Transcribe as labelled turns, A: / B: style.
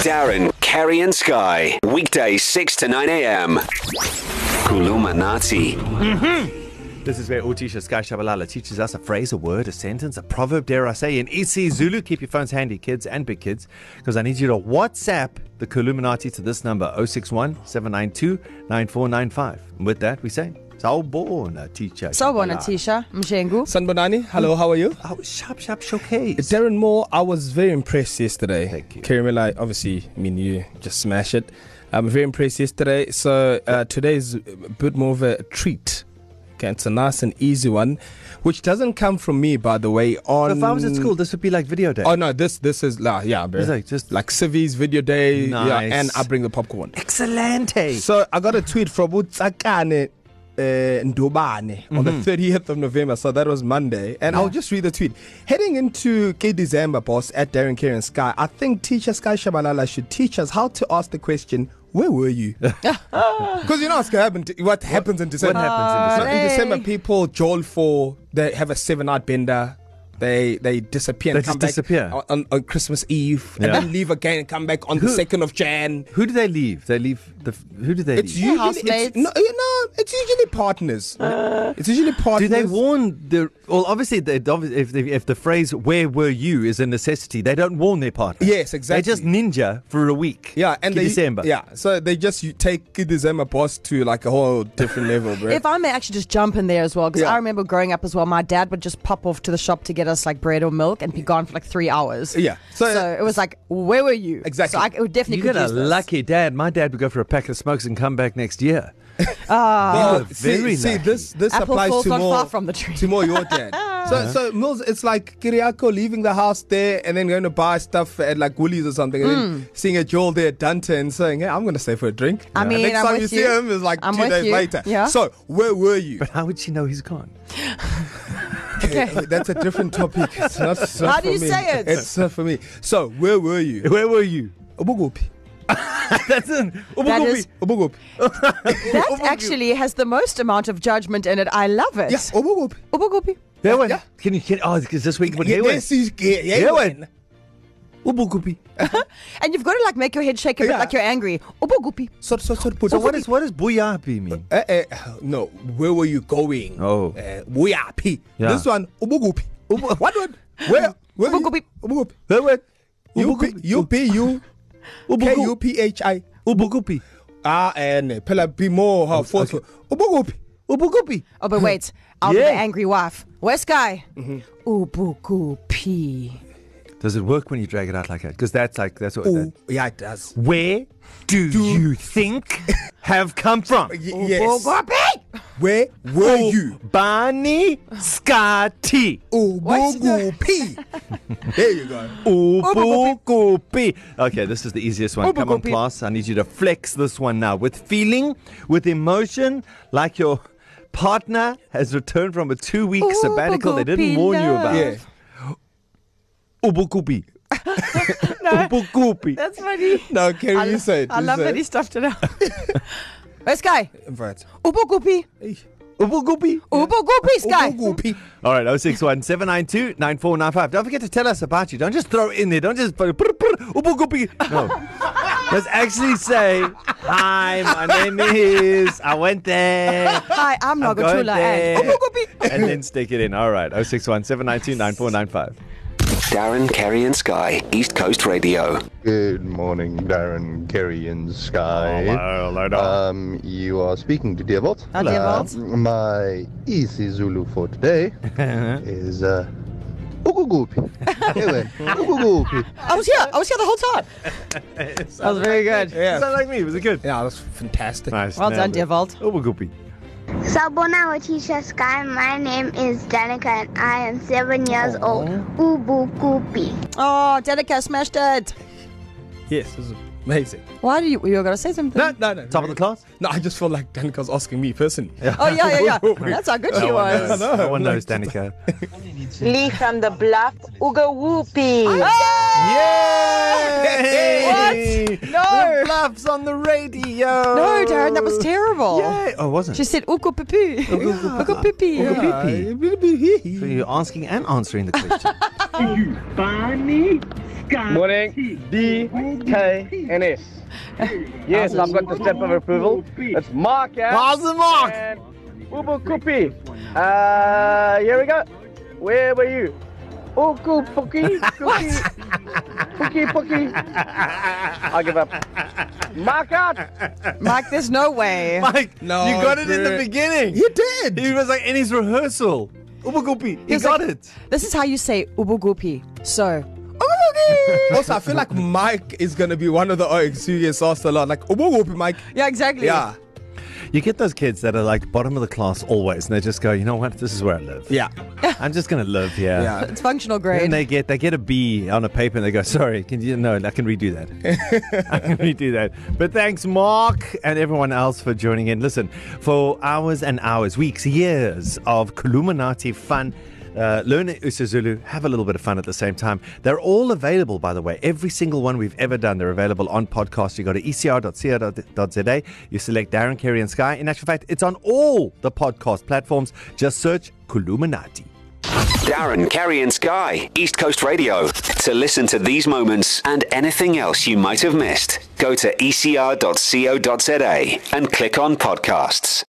A: Darren, Kerry, and Sky. Weekdays 6 to 9 a.m. Kulumanati.
B: This is where Utisha Sky Shabalala teaches us a phrase, a word, a sentence, a proverb, dare I say, in EC Zulu. Keep your phones handy, kids and big kids, because I need you to WhatsApp the Columinati to this number 061 792 9495. And with that, we say, Sawubona, teacher.
C: Sawubona
B: Shabalala."
C: Tisha Mshengu.
D: Sanbonani, hello, how are you?
B: Oh, sharp, sharp showcase.
D: Darren Moore, I was very impressed yesterday.
B: Thank you.
D: Karimela, obviously, I mean, you just smash it. I'm very impressed yesterday. So uh, today's a bit more of a treat. Okay, it's a nice and easy one, which doesn't come from me, by the way. On
B: If I was at school, this would be like video day.
D: Oh no, this this is la yeah, bro.
B: It's like just-
D: like civies, video day,
B: Nice.
D: yeah, and I bring the popcorn.
B: Excelente.
D: So I got a tweet from Utsakane uh, Ndobane on the
B: Mm-hmm.
D: 30th of November. So that was Monday. And I'll just read the tweet. Heading into K December, boss, at Darren Karen Sky, I think teacher Sky Shabalala should teach us how to ask the question, Where were you? Because you know what's gonna happen to- what happens in December.
B: Ah. happens in
D: So in
C: Hooray.
D: December, people jolt for, they have a seven night bender. They they disappear and
B: They
D: come
B: just
D: back
B: disappear.
D: on- on, on Christmas Eve
B: Yeah.
D: and then leave again and come back on the
B: Who-
D: second of Jan.
B: Who do they leave? They leave the. f- Who do they
D: It's
B: leave?
D: usually
C: housemates. Uh.
D: It's, no, you know, it's usually partners. it's usually
B: Do
D: partners.
B: they warn the? Well, obviously, they, obvi- if, the, if the phrase "Where were you" is a necessity, they don't warn their partner.
D: Yes,
B: They just
D: exactly.
B: ninja for a week.
D: Yeah, and
B: Ki
D: they
B: December.
D: Yeah, so they just you take Ki December boss to like a whole different level, bro.
C: If I may actually just jump in there as well, because
D: Yeah.
C: I remember growing up as well, my dad would just pop off to the shop to get us like bread or milk and be gone for like three hours.
D: Yeah.
C: So,
D: So- uh,
C: it was like, where were you?
D: Exactly.
C: So I, it would definitely
B: You get
C: could
B: a
C: use this.
B: lucky dad. My dad would go for a pack of smokes and come back next year. Ah,
D: Well,
B: were
D: see,
B: very
D: see
B: lucky.
D: this this
C: Apple
D: applies
C: falls
D: to
C: not
D: more
C: far from the tree.
D: to more your dad. so so Mills, it's like Kiriako leaving the house there and then going to buy stuff at like Woolies or something, and then seeing a Joel there at Dunton and saying, "Hey, I'm going to stay for a drink."
C: Hmm. I
D: And
C: mean,
D: next
C: I'm
D: time you
C: with
D: see
C: you.
D: him is like
C: I'm
D: two
C: with
D: days
C: you.
D: later.
C: Yeah.
D: So where were you?
B: But how would she know he's gone?
D: Okay, that's a different topic. It's not, it's not
C: How do
D: for
C: you
D: me.
C: say it?
D: It's not for me. So, where were you?
B: Where were you?
D: Ubuguphi.
B: That's it.
C: That is-
D: Ubuguphi.
C: That actually has the most amount of judgment in it. I love it.
D: Yeah, ubuguphi.
C: Ubugupi.
B: There went.
D: Yeah.
B: Can you? Can, oh, because this week. But
D: Yeah,
B: here went.
D: this is- yeah, yeah,
B: Here
D: went.
B: went. Ubugupi.
C: And you've got to like make your head shake a bit
D: Yeah.
C: like you're angry. Ubugupi.
D: Sort- sort- sort put-
B: So what is what does buyapi mean?
D: Eh, eh, no, where were you going?
B: Oh.
D: Uh, Buyaphi.
B: Yeah.
D: This one, ubuguphi. Ubu- what one? Where? where you-
C: Ubuguphi.
D: Ubuguphi.
B: There went.
D: U P- U P U K U P H I.
B: Ubugupi.
D: Ah, and phela be more uh, forceful. Ubuguphi.
B: Ubugupi.
C: Oh,
D: Hmm.
C: but wait. I'll
B: Yeah.
C: be the angry wife. Where's Guy?
D: Mm-hmm.
C: Ubugupi.
B: Does it work when you drag it out like that? Because that's like that's what.
D: Ooh, Oh, Yeah, it does.
B: Where do, you think have come from?
D: Y- yes.
C: Ubugupi.
D: Where were
C: Oh.
D: you?
B: Barney Scotty.
D: Ubuguphi. there you go.
B: Ubugupi. Okay, this is the easiest one. Come on,
C: Ubugupi.
B: class. I need you to flex this one now with feeling, with emotion, like your partner has returned from a two week sabbatical they didn't
C: Ubugupi
B: warn you about.
D: Yeah.
B: Ubugupi. Ubugupi.
C: That's funny.
D: No, Kerry,
C: I,
D: you say it.
C: I
D: you
C: love
D: say
C: that he stuffed it out. Where's Sky?
D: Right.
C: Ubugupi.
B: Ubugupi.
C: Ubugupi, Sky.
D: Ubuguphi.
B: All right, 061 792 9495. Don't forget to tell us about you. Don't just throw it in there. Don't just. put- put- put- ubugupi. No. Let's actually say, Hi, my name is. I went there.
C: Hi, I'm
B: I'm going
C: Nagatula.
B: there.
C: And Ubugupi.
B: And then stick it in. All right, 061 792 9495.
A: Darren, Kerry, and Sky. East Coast Radio.
E: Good morning, Darren, Kerry, and Sky.
B: Hello, hello, hello.
E: Um, you are speaking to Dearbolt.
C: Hi, Dearbolt.
E: Uh, my easy Zulu for today is uh, Ugugupi. anyway, Ugugupi.
C: I was here. I was here the whole time. that was very good.
B: Yeah. Sound like me. Was it good?
D: Yeah, that's fantastic.
B: Nice.
C: Well done,
B: nailed it.
C: Devolt.
B: Ubugupi.
F: Sabona Watisha Sky, my name is Danica and I am seven years old. Ubu Kupi.
C: Oh, Danica smashed it.
D: Yes, this is amazing.
C: Why do you? You were gonna say something?
D: No, no, no.
B: Top of the class?
D: No, I just feel like Danica's asking me personally.
C: Oh yeah, yeah, yeah. That's how good she was.
B: No, one knows, Danica.
G: Lee from the bluff, Uga Whoopie.
B: Yay!
C: What? No.
B: The bluffs on the radio.
C: No, Darren, that was terrible.
B: Yay! Oh, wasn't.
C: She said uku pipi. Uku pipi.
B: So you're asking and answering the question.
H: Barney Morning, D, K, and S. Yes, I've got the stamp of approval. It's Mark, yeah?
B: How's the mark?
H: And Ubu Kupi. Uh, here we go. Where were you? Uku Puki, Kuki, Puki Puki. I give up. Mark out.
C: Mike, there's no way.
B: Mike,
D: No,
B: you got it in the
D: dude.
B: beginning.
D: He did.
B: He was like in his rehearsal. Ubugupi, he
C: was
B: got
C: like-
B: it.
C: This is how you say ubugupi. So,
D: also, I feel like Mike is going to be one of the OX who gets asked a lot. Like, oh, whoop, Mike.
C: yeah, exactly.
D: Yeah.
B: You get those kids that are like bottom of the class always, and they just go, you know what? This is where I live.
D: Yeah.
B: I'm just gonna live here.
D: Yeah.
C: It's functional grade.
B: And they get they get a B on a paper and they go, sorry, can you no, I can redo that. I can redo that. But thanks, Mark, and everyone else for joining in. Listen, for hours and hours, weeks, years of Kuluminati fun. Uh, learn Usazulu, have a little bit of fun at the same time. They're all available, by the way. Every single one we've ever done, they're available on podcast. You go to E ecr.co.za, you select Darren, Kerry, and Sky. In actual fact, it's on all the podcast platforms. Just search Kuluminati.
A: Darren, Kerry, and Sky, East Coast Radio. To listen to these moments and anything else you E might have missed, go to ecr.co.za and click on podcasts.